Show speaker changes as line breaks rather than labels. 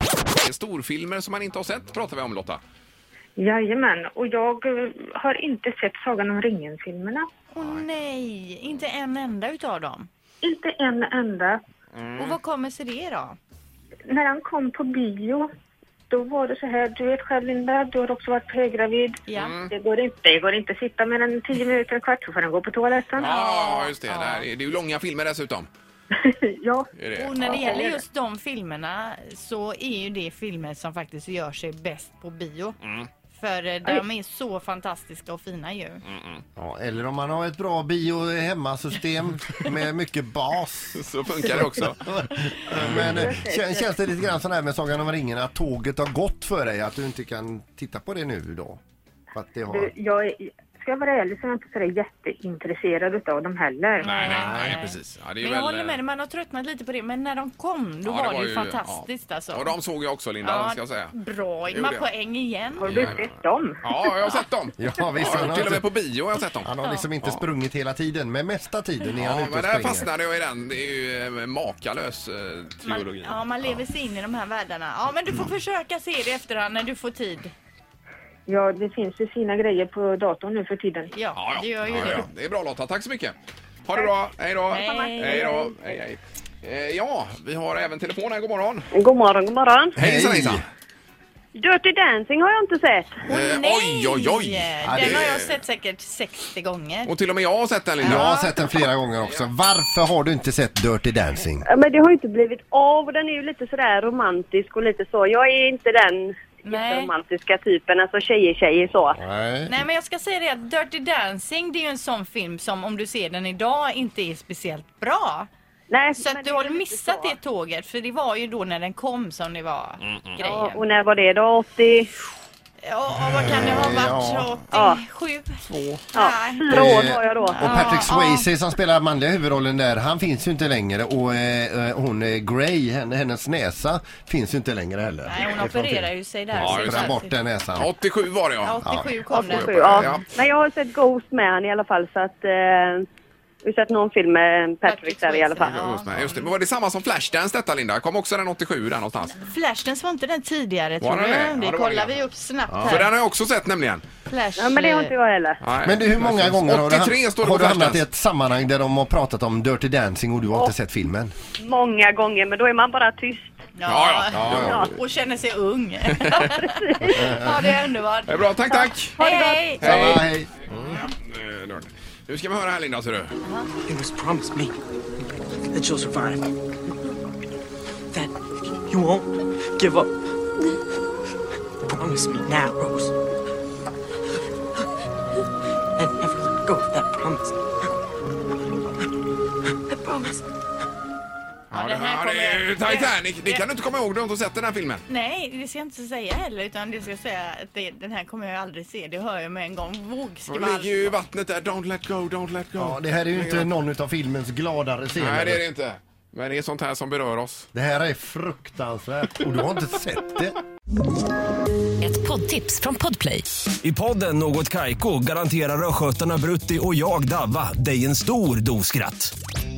eh, storfilmer som man inte har sett pratar vi om Lotta.
Jajamän, och jag eh, har inte sett Sagan om ringen-filmerna.
Åh nej, inte en enda utav dem.
Inte en enda.
Mm.
Och vad kommer sig det då?
När han kom på bio, då var det så här, du vet själv Linda, du har också varit höggravid.
Ja.
Det går inte, det går inte att sitta mer än 10 minuter, en kvart, så får den gå på toaletten.
Ja,
Ja,
ah, just det. Där. Det är ju långa filmer dessutom. Är det?
Och när det gäller just de filmerna så är ju det filmer som faktiskt gör sig bäst på bio.
Mm.
För eh, de är så fantastiska och fina ju.
Ja, eller om man har ett bra bio hemmasystem med mycket bas.
Så funkar det också.
Men eh, kän- känns det lite grann sån här med Sagan om ringen att tåget har gått för dig? Att du inte kan titta på det nu då? För att det har...
Du, jag är, ska jag vara ärlig så är jag inte så där jätteintresserad utav dem heller.
Nej, nej, nej, precis. Ja, det är
Men
väl,
jag håller
eh,
med dig, man har tröttnat lite på det. Men när de kom, då
ja,
var det,
var
ju
ju-
fantastiskt
ja.
alltså.
Och de såg jag också Linda, ska jag säga.
Bra,
Gjorde
man
jag.
poäng igen.
Har du
Jajamän.
sett dem?
Ja, jag har sett dem.
Ja, visst, han,
Ja,
har
till och med
inte,
på bio har jag sett dem.
han har liksom inte sprungit hela tiden, men mesta tiden är han
Ja,
ute
men
och
där
springer.
fastnade jag i den. Det är ju eh, makalös eh,
Man,
trilogi.
ja, man lever sig in i de här världarna. Ja, men du får försöka se det i efterhand när du får tid.
Ja, det finns ju fina grejer på datorn nu för tiden.
Ja,
Ja, ja.
det gör ju
ja,
det.
ja. Det är bra Lotta, tack så mycket. Ha det bra, hej då.
Hej.
Hej då. Hej, hej. Eh, Ja, vi har även telefon här, god morgon.
God morgon, god morgon.
Hejsan hejsan.
Dirty Dancing har jag inte sett.
Eh,
Nej!
oj, oj, oj.
Ja,
Den
det-
har jag sett säkert 60 gånger.
Och till och med jag har sett den Linda.
Jag har sett den flera gånger också. Varför har du inte sett Dirty Dancing?
Ja, Men det har ju inte blivit av och den är ju lite sådär romantisk och lite så. Jag är inte den
Nej.
romantiska typen, alltså tjejer tjejer så.
Nej.
Nej men jag ska säga det att Dirty Dancing det är ju en sån film som om du ser den idag inte är speciellt bra.
Nej,
Så
men
att du
det är
har
lite
missat
så.
det tåget för det var ju då när den kom som det var
Mm,
grejen.
Ja, och när var det då? 80?
Ja, och vad kan det ha
Ja.
varit? 87?
Ja,
Nej.
fyra år var jag då.
Och Patrick Swayze som spelar manliga huvudrollen där, han finns ju inte längre. Och eh, eh, hon eh, Grey, henne- hennes näsa, finns ju inte längre heller.
Nej, hon
Ifrån
opererar
filmen.
ju sig där.
Ja, just
så det
Opererar
är
bort
alltid-
den näsan.
87 var det ja.
Ja, 87 kom den.
87,
Ja.
ja. Men jag har sett Ghost med han i alla fall så att... Eh, jag har sett någon film med Patrick
Patrick
där i alla fall.
Swayze, ja.
Just det, just det. Men var det samma som Flashdance detta Linda? Kom också den 87 där någonstans?
Flashdance var inte den tidigare tror
den det? Ja,
jag.
det
Det
var
kollar
den.
vi upp snabbt
För den
här.
har jag också sett nämligen.
Flash...
Ja, men det har inte jag heller.
Nej.
Men du, hur många gånger har du,
83 står det
har
på
du hamnat
Flashdance.
i ett sammanhang där de har pratat om Dirty Dancing och du har inte sett filmen?
Många gånger, men då är man bara tyst.
Ja, ja.
Ja, ja.
Och känner sig ung. ja, det är underbart.
Det är bra, tack tack.
Hej, hej!
Samma, hej.
Eh, då. Nu ska vi höra här Linda ser du.
It was promised me that you'll survive. That you won't give up. Promise me now, Rose. And never let go of that promise. I promise.
Ja, det,
den här
ja, det är ju
kommer-
Titanic. Det kan du inte komma ihåg, du har inte sett den här filmen.
Nej, det ska jag inte säga heller utan det ska jag säga att det, den här kommer jag aldrig se. Det hör jag med en gång.
Det
Vågskvall.
ligger ju i vattnet där. Don't let go, don't let go.
Ja, det här är ju inte någon utav filmens gladare scener.
Nej, det är det inte. Men det är sånt här som berör oss.
Det här är fruktansvärt och du har inte sett det.
Ett poddtips från Podplay.
I podden Något Kaiko garanterar östgötarna Brutti och jag, Davva, dig en stor dos skratt.